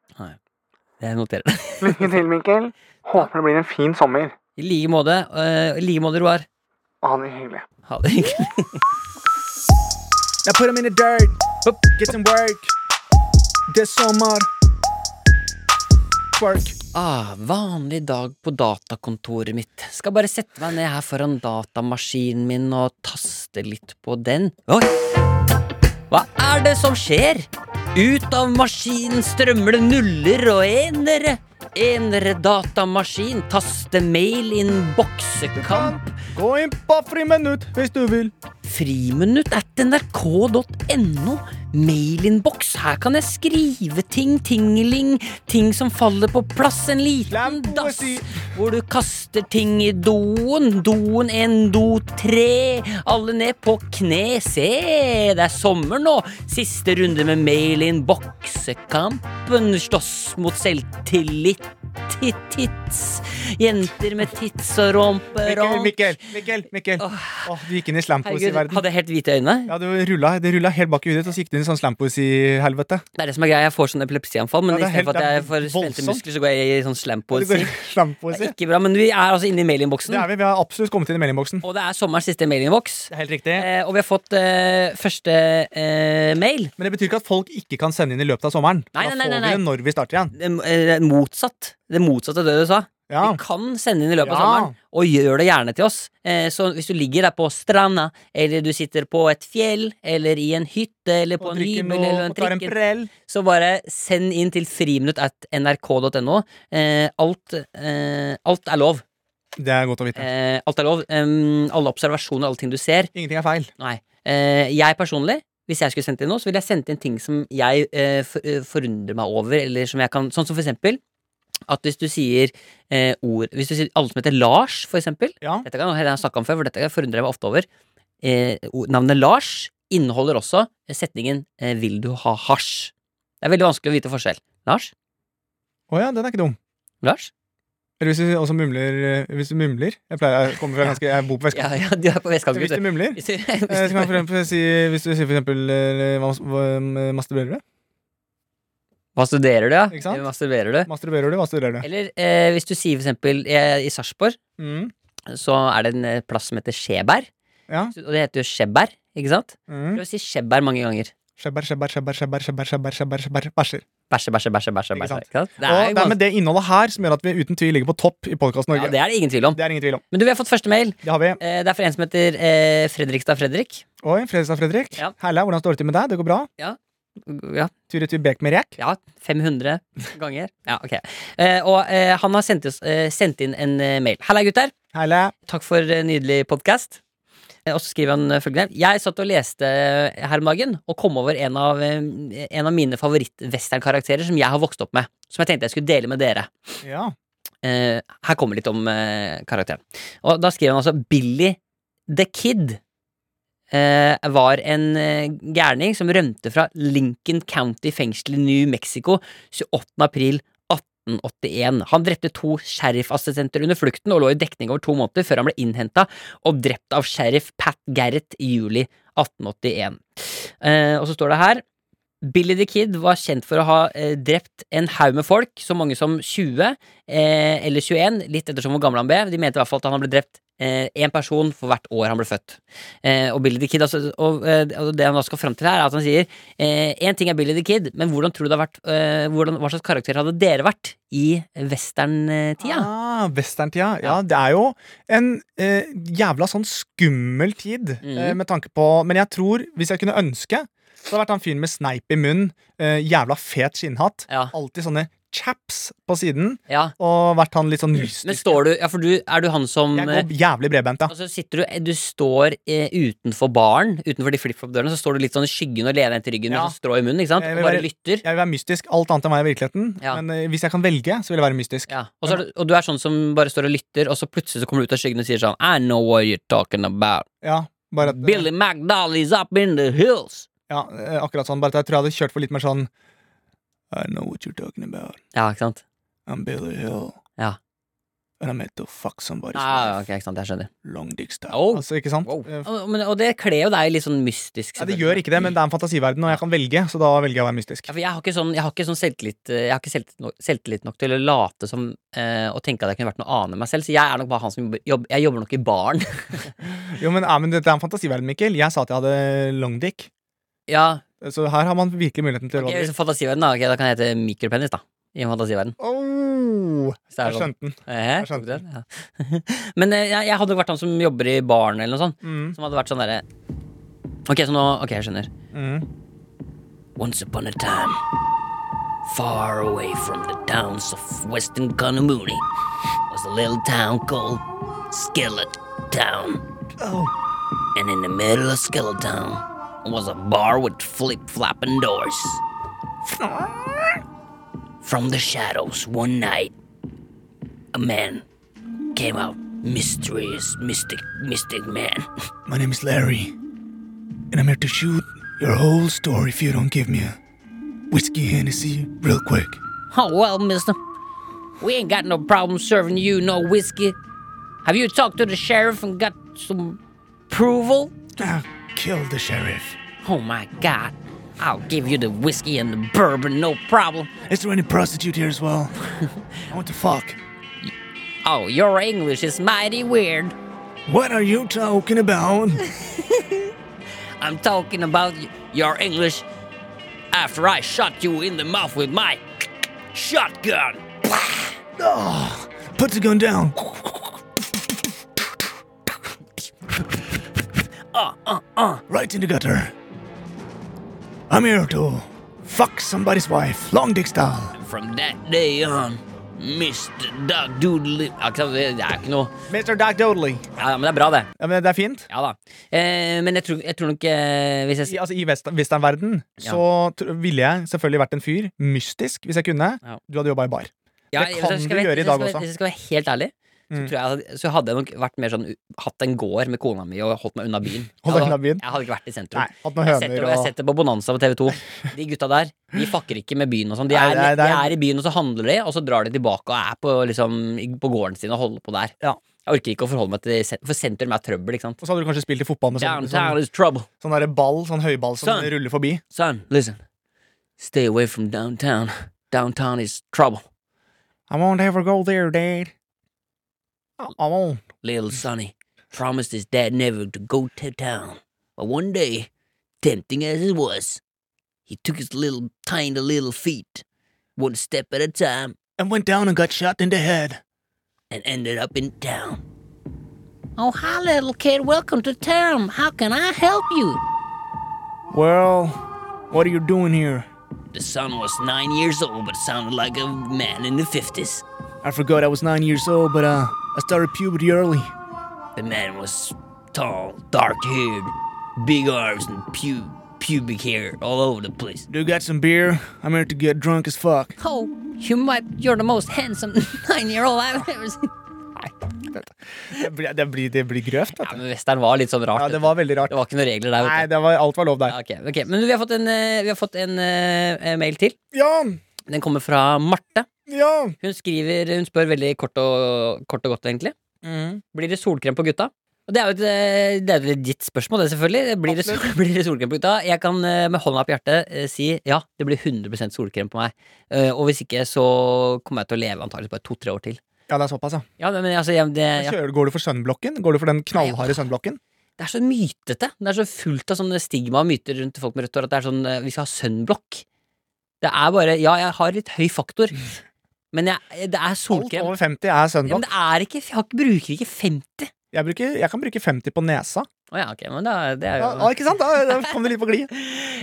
C: Jeg noterer det.
E: Lykke til, Mikkel. Håper det blir en fin sommer.
C: I like måte. eh, I like måte, Roar.
E: Ha det hyggelig.
C: Ha det hyggelig.
B: Now put them in the dirt. Get some work. This summer. Work.
C: Ah, vanlig dag på datakontoret mitt. Skal bare sette meg ned her foran datamaskinen min og taste litt på den. Oi! Hva er det som skjer? Ut av maskinen strømmer det nuller og enere. Enere datamaskin, taste mail inn boksekamp.
B: Gå inn på friminutt hvis du vil.
C: Friminutt at nrk.no. Mailinnboks. Her kan jeg skrive ting, tingeling, ting som faller på plass. En liten
B: Klem
C: dass
B: poesi.
C: hvor du kaster ting i doen. Doen en do tre. Alle ned på kne. Se, det er sommer nå. Siste runde med mail-in-boksekampen. Slåss mot selvtillit. Tits. Jenter med tits og
B: Mikkel,
C: rumperomp.
B: Mikkel, Mikkel. Mikkel.
C: Åh.
B: Åh, du gikk inn i
C: Herregud,
B: slampoesi-verden.
C: hadde jeg helt hvite øyne?
B: Ja, du rulla, det rulla helt bak i huet ditt, og så gikk du inn i sånn slampoesi-helvete.
C: Det er det som er greia, jeg får sånn epilepsianfall, men
B: Ja, det er
C: istedenfor
B: helt-
C: at jeg
B: det
C: får
B: er
C: spente
B: voldsomt.
C: muskler, så går jeg i
B: Du
C: sånn slampoesi.
B: går i
C: Det er
B: Slampoesi.
C: ikke bra, men vi er altså inne i mailinnboksen,
B: Det er vi. Vi har absolutt kommet inn i meldingboksen.
C: og det er sommerens siste mailinnboks.
B: Det er helt riktig.
C: Eh, og vi har fått eh, første eh, mail.
B: Men det betyr ikke at folk ikke kan sende inn i løpet av sommeren.
C: Nei, nei, nei,
B: da får
C: nei,
B: vi det når vi starter igjen.
C: Det, eh, motsatt. Det motsatte av det du sa.
B: Ja.
C: Vi kan sende inn i løpet av
B: Ja.
C: sommeren, og gjør det gjerne til oss. Eh, så hvis du ligger der på stranda, eller du sitter på et fjell, eller i en hytte, eller på
B: Og
C: en
B: drikker
C: hybel,
B: noe,
C: eller en
B: og tar en
C: trikken,
B: prell.
C: så bare send inn til friminutt.nrk.no. Eh, alt, eh, alt er lov.
B: Det er godt å vite.
C: Eh, alt er lov. Em, alle observasjoner, alle ting du ser.
B: Ingenting er feil.
C: Nei. Eh, jeg personlig, hvis jeg skulle sendt inn noe, så ville jeg sendt inn ting som jeg eh, for, eh, forundrer meg over, eller som jeg kan Sånn som for eksempel at hvis du sier eh, ord Hvis du sier alle som heter Lars, for eksempel
B: Ja.
C: Dette kan jeg snakke om før, for dette forundrer jeg meg ofte over. Eh, o- navnet Lars inneholder også setningen eh, 'Vil du ha hasj?' Det er veldig vanskelig å vite forskjell. Lars?
B: Å ja, den er ikke dum.
C: Lars?
B: Eller hvis du også mumler eh, Hvis du mumler Jeg pleier jeg kommer fra ganske Jeg bor på
C: Ja,
B: vestkanten.
C: ja, du er på vestkanten.
B: Hvis
C: gutter.
B: du mumler
C: Hvis du-
B: eh, så
C: hvis
B: kan jeg for
C: du-
B: eksempel si, Hvis du sier for eksempel eh, mas- hva- Masturberer du?
C: Masturberer du,
B: Ikke
C: ja?
B: sant?
C: Masturberer du?
B: Masturberer du? Masturberer du?
C: Eller eh, hvis du sier for eksempel eh, i Sarpsborg
B: Mm.
C: så er det en eh, plass som heter Skjeberg.
B: Ja.
C: Så- Og det heter jo Skjeberg, ikke sant?
B: Mm.
C: Prøv å si Skjeberg mange ganger.
B: Skjebber, skjebber, skjebber, skjebber, skjebber, skjebber, skjebber, skjebber, bæsjer.
C: Bæsje, bæsje, bæsje, bæsje.
B: Ikke
C: bæsje
B: sant?
C: ikke sant? Det,
B: Og
C: er
B: det er
C: ganske,
B: med det innholdet her som gjør at vi uten tvil ligger på topp i Podkast
C: ja,
B: Norge.
C: det er det ingen tvil om.
B: Det er ingen tvil om.
C: Men du, vi har fått første mail.
B: Det har vi.
C: Eh, Det er fra en som heter eh, Fredrikstad Fredrik.
B: Oi, Fredrikstad Fredrik.
C: Ja.
B: Herlig, hvordan står det til med deg? Det går bra?
C: Ja,
B: Tur-retur Bekmerek?
C: ja 500 ganger. Ja, ok. Eh, Og eh, han har sendt, oss, eh, sendt inn en eh, mail. Halla, gutter.
B: Herlig.
C: Takk for eh, nydelig podkast. Og så skriver han eh, følgende Jeg satt og leste eh, her om dagen og kom over en av, eh, en av mine favoritt-western-karakterer som jeg har vokst opp med. Som jeg tenkte jeg skulle dele med dere.
B: Ja.
C: Eh, her kommer litt om eh, karakteren. Og da skriver han altså Billy the Kid eh, var en eh, gærning som rømte fra Lincoln County fengsel i New Mexico 28. april 1881. Han drepte to sheriff-assistenter under flukten og lå i dekning over to måneder før han ble innhenta og drept av sheriff Pat Garrett i juli 1881. Eh, og så står det her Billy the Kid var kjent for å ha eh, drept en haug med folk, så mange som 20 eh, eller 21, litt ettersom hvor gammel han ble. De mente i hvert fall at han ble drept én person for hvert år han ble født. Eh, og Billy the Kid, altså, og, eh, og det han da skal fram til her, er at han sier én ting er Billy the Kid, men hvordan tror du det har vært, eh, hvordan, hva slags karakter hadde dere vært i eh, western-tida?
B: Ah, Westerntida. Ja, det er jo en eh, jævla sånn skummel tid
C: Mhm.
B: eh, med tanke på Men jeg tror, hvis jeg kunne ønske, så hadde det vært han fyren med sneip i munnen, eh, jævla fet skinnhatt,
C: Ja.
B: alltid sånne chaps på siden,
C: ja.
B: og vært han litt sånn mystisk.
C: Men står du Ja, for du, er du han som eh,
B: Jeg går jævlig bredbent, ja.
C: Og så sitter du, du står eh, utenfor baren, utenfor de flip-flop-dørene, så står du litt sånn i skyggen og lener til ryggen
B: Ja.
C: med sånn strå i munnen, ikke sant?
B: Jeg
C: Og
B: vil
C: bare
B: være-
C: lytter.
B: Jeg vil være mystisk. Alt annet enn hva jeg er i virkeligheten.
C: Ja.
B: Men eh, hvis jeg kan velge, så vil jeg være mystisk.
C: Ja. Og, så er du, og du er sånn som bare står og lytter, og så plutselig så kommer du ut av skyggen og sier sånn I know what you're talking about.
B: Ja, bare at, eh,
C: Billy McDowell is up in the hills.
B: ja, eh, akkurat sånn. Bare at jeg tror jeg hadde kjørt for litt mer sånn I know what you're talking about.
C: Ja, ikke sant?
B: I'm Billy Hill.
C: Ja.
B: And I meant to fuck somebody's
C: Ah,
B: wife.
C: ok, ikke sant, jeg skjønner.
B: Long dick style.
C: Oh.
B: Altså, ikke sant?
C: Wow.
B: Eh,
C: Og, men, og det kler jo deg litt sånn mystisk.
B: Ja, det gjør ikke det, men det er en fantasiverden, og jeg kan velge, så da velger jeg å være mystisk.
C: Ja, for jeg har ikke sånn, jeg har ikke sånn selvtillit eh, Jeg har ikke selvtillit nok, selvtillit nok til å late som eh, Å tenke at jeg kunne vært noe annet enn meg selv Så jeg er nok bare han som jobber, jobb, jeg jobber nok i baren
B: Jo, men, ja, men dette er en fantasiverden, Mikkel. Jeg sa at jeg hadde long dick,
C: Ja,
B: så her har man virkelig muligheten til å
C: ok,
B: gjøre
C: så fantasiverden da Ok, da kan jeg hete mikropenis da I en fantasiverden
B: Oh,
C: Hvis det er
B: jeg
C: sånn.
B: skjønte den.
C: Eh,
B: jeg skjønte
C: den, ja. Men eh, jeg, jeg hadde nok vært han som jobber i baren eller noe sånt
B: Mm,
C: Som hadde vært sånn der Ok, så nå, ok, jeg skjønner
B: mm.
C: Once upon a time, far away from the towns of western Kanamuni, was a little town called Skillet Town.
B: Oh.
C: And in the middle of Skillet Town was a bar with flip flopping doors. From the shadows one night, a man came out. Mysterious, mystic, mystic man.
B: My name is Larry, and I'm here to shoot your whole story if you don't give me a whiskey Hennessy real quick.
C: Oh, well, mister. We ain't got no problem serving you no whiskey. Have you talked to the sheriff and got some approval?
B: Ah, kill the sheriff.
C: Oh, my God. I'll give you the whiskey and the bourbon, no problem.
B: Is there any prostitute here as well? I want to fuck.
C: Oh, your English is mighty weird.
B: What are you talking about?
C: I'm talking about y- your English after I shot you in the mouth with my shotgun.
B: oh, Put the gun down! Right in the gutter. I'm here to fuck somebody's wife. Long dick style.
C: From that day on, Mr. Dog Doodle Det er ikke noe
B: Mr. Doc Dodley.
C: Ja, Men det er bra, det.
B: Ja, men det er fint.
C: Ja da. Eh, men jeg tror, jeg tror nok eh, hvis jeg,
B: I,
C: s-
B: altså, i west- westernverden så tr- ville jeg selvfølgelig vært en fyr. Mystisk, hvis jeg kunne.
C: Ja.
B: Du hadde jobba i bar.
C: ja,
B: det
C: hvis jeg
B: kan
C: skal
B: du
C: være-
B: gjøre i
C: hvis jeg
B: dag
C: skal være-
B: også.
C: Hvis jeg skal være helt ærlig, så,
B: Mm.
C: tror jeg, hadde- så hadde jeg nok vært mer sånn u- hatt en gård med kona mi og holdt meg unna byen.
B: Holdt deg
C: Jeg hadde-
B: unna byen?
C: Jeg hadde ikke vært i sentrum.
B: Nei, hatt noen
C: Jeg setter,
B: høner
C: og jeg
B: og
C: setter på Bonanza på TV2. De gutta der de fucker ikke med byen. og sånn de,
B: Nei,
C: er-
B: det er- det
C: de
B: er-
C: er i byen, og så handler de, og så drar de tilbake og er på, liksom, i- på gården sin og holder på der.
B: Ja.
C: Jeg orker ikke å forholde meg til sen- For sentrum er trøbbel, ikke sant?
B: Og så hadde du kanskje spilt i fotball med sånn,
C: Downtown
B: sånn,
C: is trouble.
B: sånn der ball, sånn høyball som
C: Sånn.
B: ruller forbi.
C: Son, listen. Stay away from downtown. Downtown is trouble.
B: I won't ever go there, dad. I I won't.
C: Little Sonny promised his dad never to go to town. But one day, tempting as it was, he took his little tiny little feet, one step at a time,
B: And went down and got shot in the head.
C: and ended up in town. Oh, hi, little kid. Welcome to town. How can I help you?
B: Well, what are you doing here?
C: The son was nine years old, but sounded like a man in the 50s.
B: I forgot I was nine years old, but uh, I started puberty early.
C: The man was tall, dark haired, big arms, and pu- pubic hair all over the place.
B: Do you got some beer? I'm here to get drunk as fuck.
C: Oh, you might, you're the most handsome nine year old I've ever seen.
B: Det blir, det blir, det blir grøft,
C: Ja,
B: dette.
C: men Western var litt sånn rart.
B: Ja, det var veldig
C: det
B: rart.
C: var ikke noen regler der.
B: Nei,
C: Vet du.
B: det var, alt var lov der.
C: Ja, ok, ok. Men vi har fått en, eh, vi har fått en eh, mail til.
B: Jan!
C: Den kommer fra Marte.
B: Jan!
C: Hun skriver, hun spør veldig kort og, kort og godt, egentlig. Blir det solkrem på gutta? Og Det er jo et, eh, det er jo et ditt spørsmål, det selvfølgelig. Blir det, sol, blir det solkrem på gutta? Jeg kan eh, med hånda på hjertet eh, si ja, det blir 100 solkrem på meg. Eh, Og hvis ikke, så kommer jeg til å leve antakeligvis bare to-tre år til.
B: Ja, det er såpass, ja.
C: Ja, men altså, jeg, det, ja.
B: Kjører, går du for sunblocken? Går du for den knallharde sunblocken?
C: det er så mytete. Det er så fullt av sånne stigma og myter rundt folk med rødt hår at det er sånn eh, Vi skal ha sunblock. Det er bare Ja, jeg har litt høy faktor, men jeg, det er
B: Alt
C: solkrem.
B: over 50 er
C: Ja, men
B: sunblock.
C: det er ikke Jeg har ikke, bruker ikke 50.
B: Jeg, bruker, jeg kan bruke 50 på nesa.
C: Å ja, ok, men da, det er
B: Ja,
C: jo
B: ja, ikke sant? Da, da kom det litt på glid.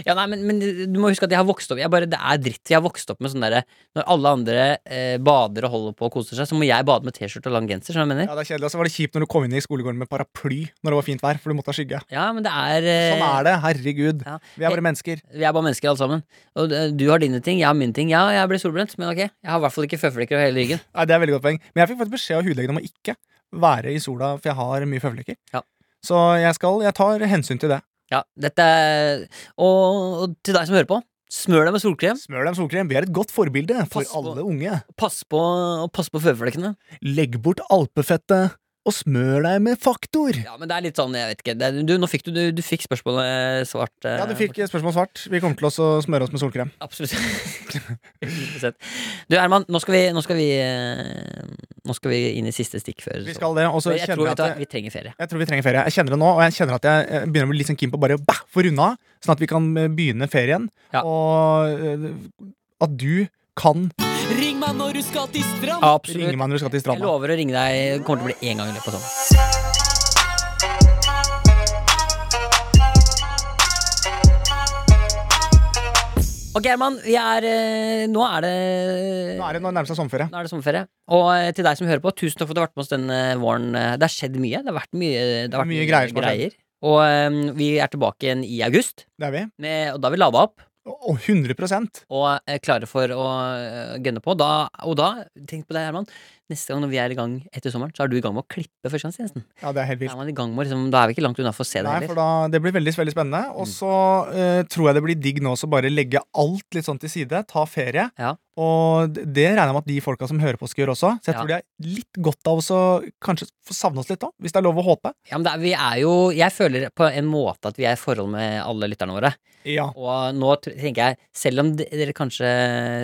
C: Ja, nei, men, men du må huske at jeg har vokst opp jeg bare, Det er dritt. Jeg har vokst opp med sånn derre Når alle andre eh, bader og holder på og koser seg, så må jeg bade med T-skjorte og lang genser. Skjønner du hva jeg mener?
B: Ja, det er kjedelig, Og så var det kjipt når du kom inn i skolegården med paraply når det var fint vær, for du måtte ha skygge.
C: Ja, men det er eh,
B: Sånn er det. Herregud.
C: Ja. Eh,
B: Vi er bare mennesker.
C: Vi er bare mennesker alle sammen. Og eh, du har dine ting, jeg har mine ting. Ja, jeg ble solbrent, men ok. Jeg har i hvert fall ikke føflekker over hele ryggen.
B: Nei, det er et veldig godt poeng. Men jeg fikk faktisk beskjed av hudlegen om å ikke være i sola, for jeg har mye føflekker.
C: Ja.
B: Så jeg skal Jeg tar hensyn til det.
C: Ja, dette er Og, og til deg som hører på, smør deg med solkrem.
B: Smør deg med solkrem. Vi er et godt forbilde for
C: Pass på.
B: alle unge.
C: Pass på, og pass på føflekkene.
B: Legg bort alpefettet og smør deg med faktor.
C: Ja, men det er litt sånn, jeg vet ikke det, er- Du, nå fikk du, du, du fikk spørsmålet svart. eh,
B: Ja, du fikk spørsmål svart. Vi kommer til oss å smøre oss med solkrem.
C: Absolutt. 100%. Du, Herman, nå skal vi Nå skal vi, eh, nå skal vi inn i siste stikk før
B: Vi skal det, og så
C: så, jeg,
B: kjenner jeg
C: tror, vet du hva,
B: at jeg,
C: Vi trenger ferie.
B: jeg tror vi trenger ferie. Jeg kjenner det nå, og jeg kjenner at jeg eh, begynner å bli litt sånn keen på å bare bah, få runda, sånn at vi kan eh, begynne ferien,
C: Ja.
B: og eh, at du kan
F: Ring meg når du skal til strand.
C: Absolutt.
B: ringe meg når du skal til
C: Jeg
B: stranda.
C: lover å ringe deg. Det kommer til å bli én gang i løpet av sommeren. Ok, Herman. Vi er, eh, nå er det
B: Nå er det nå nærmer det seg sommerferie.
C: nå er det sommerferie. Og eh, til deg som hører på, tusen takk for at du har vært med oss denne våren. Eh, Det har skjedd mye. Det har vært mye, det har vært
B: Mye greier som har skjedd.
C: Og eh, vi er tilbake igjen i august,
B: Det er vi.
C: med, og da har vi lada opp
B: Og 100
C: og er klare for å eh, gønne på. Da, og da, tenk på det, Herman, neste gang når vi er i gang etter sommeren, så er du i gang med å klippe førstegangstjenesten.
B: Ja, det er helt
C: Da
B: vilt.
C: er man i gang med å liksom, Da er vi ikke langt unna for å se det
B: Nei,
C: heller. Mm.
B: for da, Det blir veldig veldig spennende. Og så eh, tror jeg det blir digg nå å bare legge alt litt sånn til side. Ta ferie.
C: Ja.
B: Og d- det regner jeg med at de folka som hører på, skal gjøre også. Så jeg
C: Ja.
B: tror de er litt godt av oss å kanskje få savne oss litt òg, hvis det er lov å håpe.
C: Ja, men det er, vi er jo Jeg føler på en måte at vi er i forhold med alle lytterne våre.
B: Ja.
C: Og nå tr- tenker jeg, selv om de- dere kanskje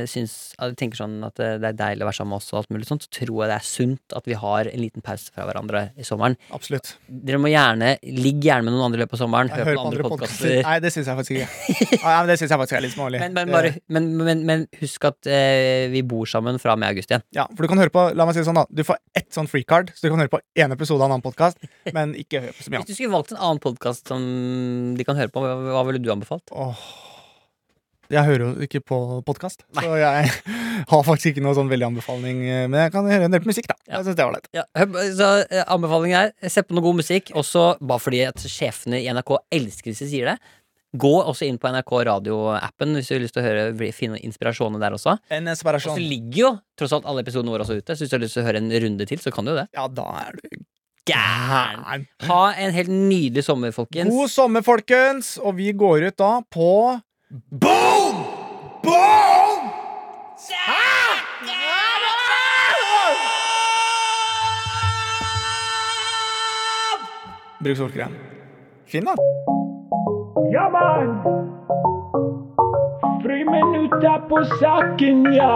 C: syns at- tenker sånn at eh, det er deilig å være sammen med oss, og alt mulig sånt, så tror jeg det er sunt at vi har en liten pause fra hverandre i sommeren.
B: Absolutt.
C: Dere må gjerne ligge gjerne med noen andre i løpet av sommeren.
B: Jeg
C: Hør på noen andre podkaster.
B: podcaster. Nei, det syns jeg faktisk ikke. Nei, men det synes jeg faktisk er litt smålig.
C: Men, men,
B: Det-
C: bare, men, men, men husk at eh, eh, vi bor sammen fra og med august igjen.
B: Ja, for Du kan høre på, la meg si det sånn da Du får ett sånn free card, så du kan høre på én episode av en annen podkast. Men ikke hør på så mye
C: Hvis
B: annet.
C: du skulle valgt en annen podkast som de kan høre på, hva, hva ville du anbefalt?
B: Åh, jeg hører jo ikke på podkast, så jeg har faktisk ikke noe sånn veldig anbefaling. eh, Men jeg kan høre en del på musikk, da.
C: Ja.
B: Jeg synes det var leit.
C: Ja, hø- så eh, Anbefalingen er se på noe god musikk. Også bare fordi at sjefene i NRK elsker hvis de sier det. Gå også inn på NRK radioappen hvis du har lyst til å høre, bli- finne inspirasjoner der også.
B: En
C: Og så
B: inspirasjon.
C: ligger jo tross alt alle episodene våre også ute. Så hvis du har lyst til å høre en runde til, så kan du jo det.
B: Ja, da er du
C: Gæren!
B: gæren.
C: Ha en helt nydelig sommer, folkens.
B: God sommer, folkens! Og vi går ut da på
G: Boom! Boom!
B: Bruk solkrem. Fin, da.
H: Ja, mann! Friminutt er på saken, ja.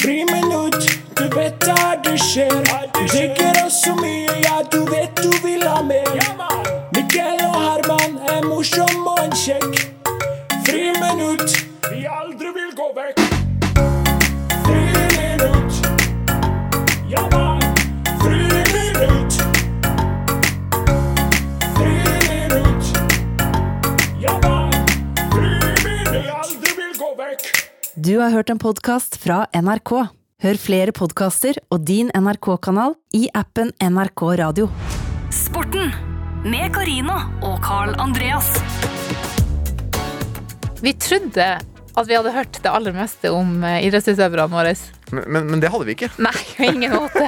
H: Friminutt, du vet da det skjer. Du drikker oss så mye, ja, du vet du vil ha mer. Mikkel og Herman er morsom og en kjekk. Friminutt, vi aldri vil gå vekk. Friminutt, ja, mann. Friminutt. Friminutt. Ja, mann. Frivillig aldri vil gå vekk.
A: Du har hørt en podkast fra NRK. Hør flere podkaster og din NRK-kanal i appen NRK Radio.
I: Sporten med Karina og Carl Andreas.
J: Vi trodde at vi hadde hørt det aller meste om eh, idrettsutøverne våre.
E: Men, men, men det hadde vi ikke.
J: Nei, på ingen måte.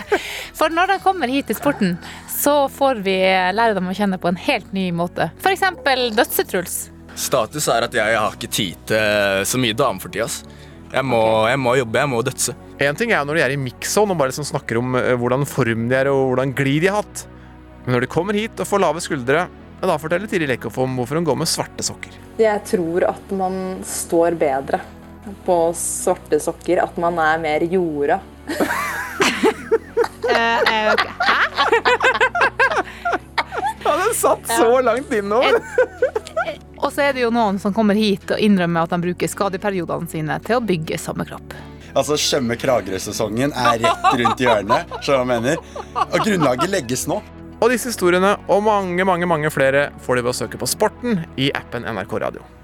J: For når de kommer hit til sporten, så får vi lære dem å kjenne på en helt ny måte. F.eks. Dødsetruls.
K: Status er at jeg har ikke tid til eh, så mye dame for tida. ass. Jeg må, jeg må jobbe, jeg må dødse.
E: En ting er jo når de er i mix-zone og bare liksom snakker om eh, hvordan form de er og hvordan glid de har hatt. Men når de kommer hit og får lave skuldre, ja, da forteller Tiri Lekhoff om hvorfor hun går med svarte sokker.
L: Jeg tror at man står bedre på svarte sokker, at man er mer jorda.
J: Eh,
E: Ja, den satt så langt innover!
J: Og så er det jo noen som kommer hit og innrømmer at de bruker skadeperiodene sine til å bygge samme kropp.
K: Altså, Skjømme Kragerø-sesongen er rett rundt hjørnet. skjønner du hva jeg mener? Og grunnlaget legges nå.
E: Og disse historiene og mange, mange, mange flere får de ved å søke på Sporten i appen NRK Radio.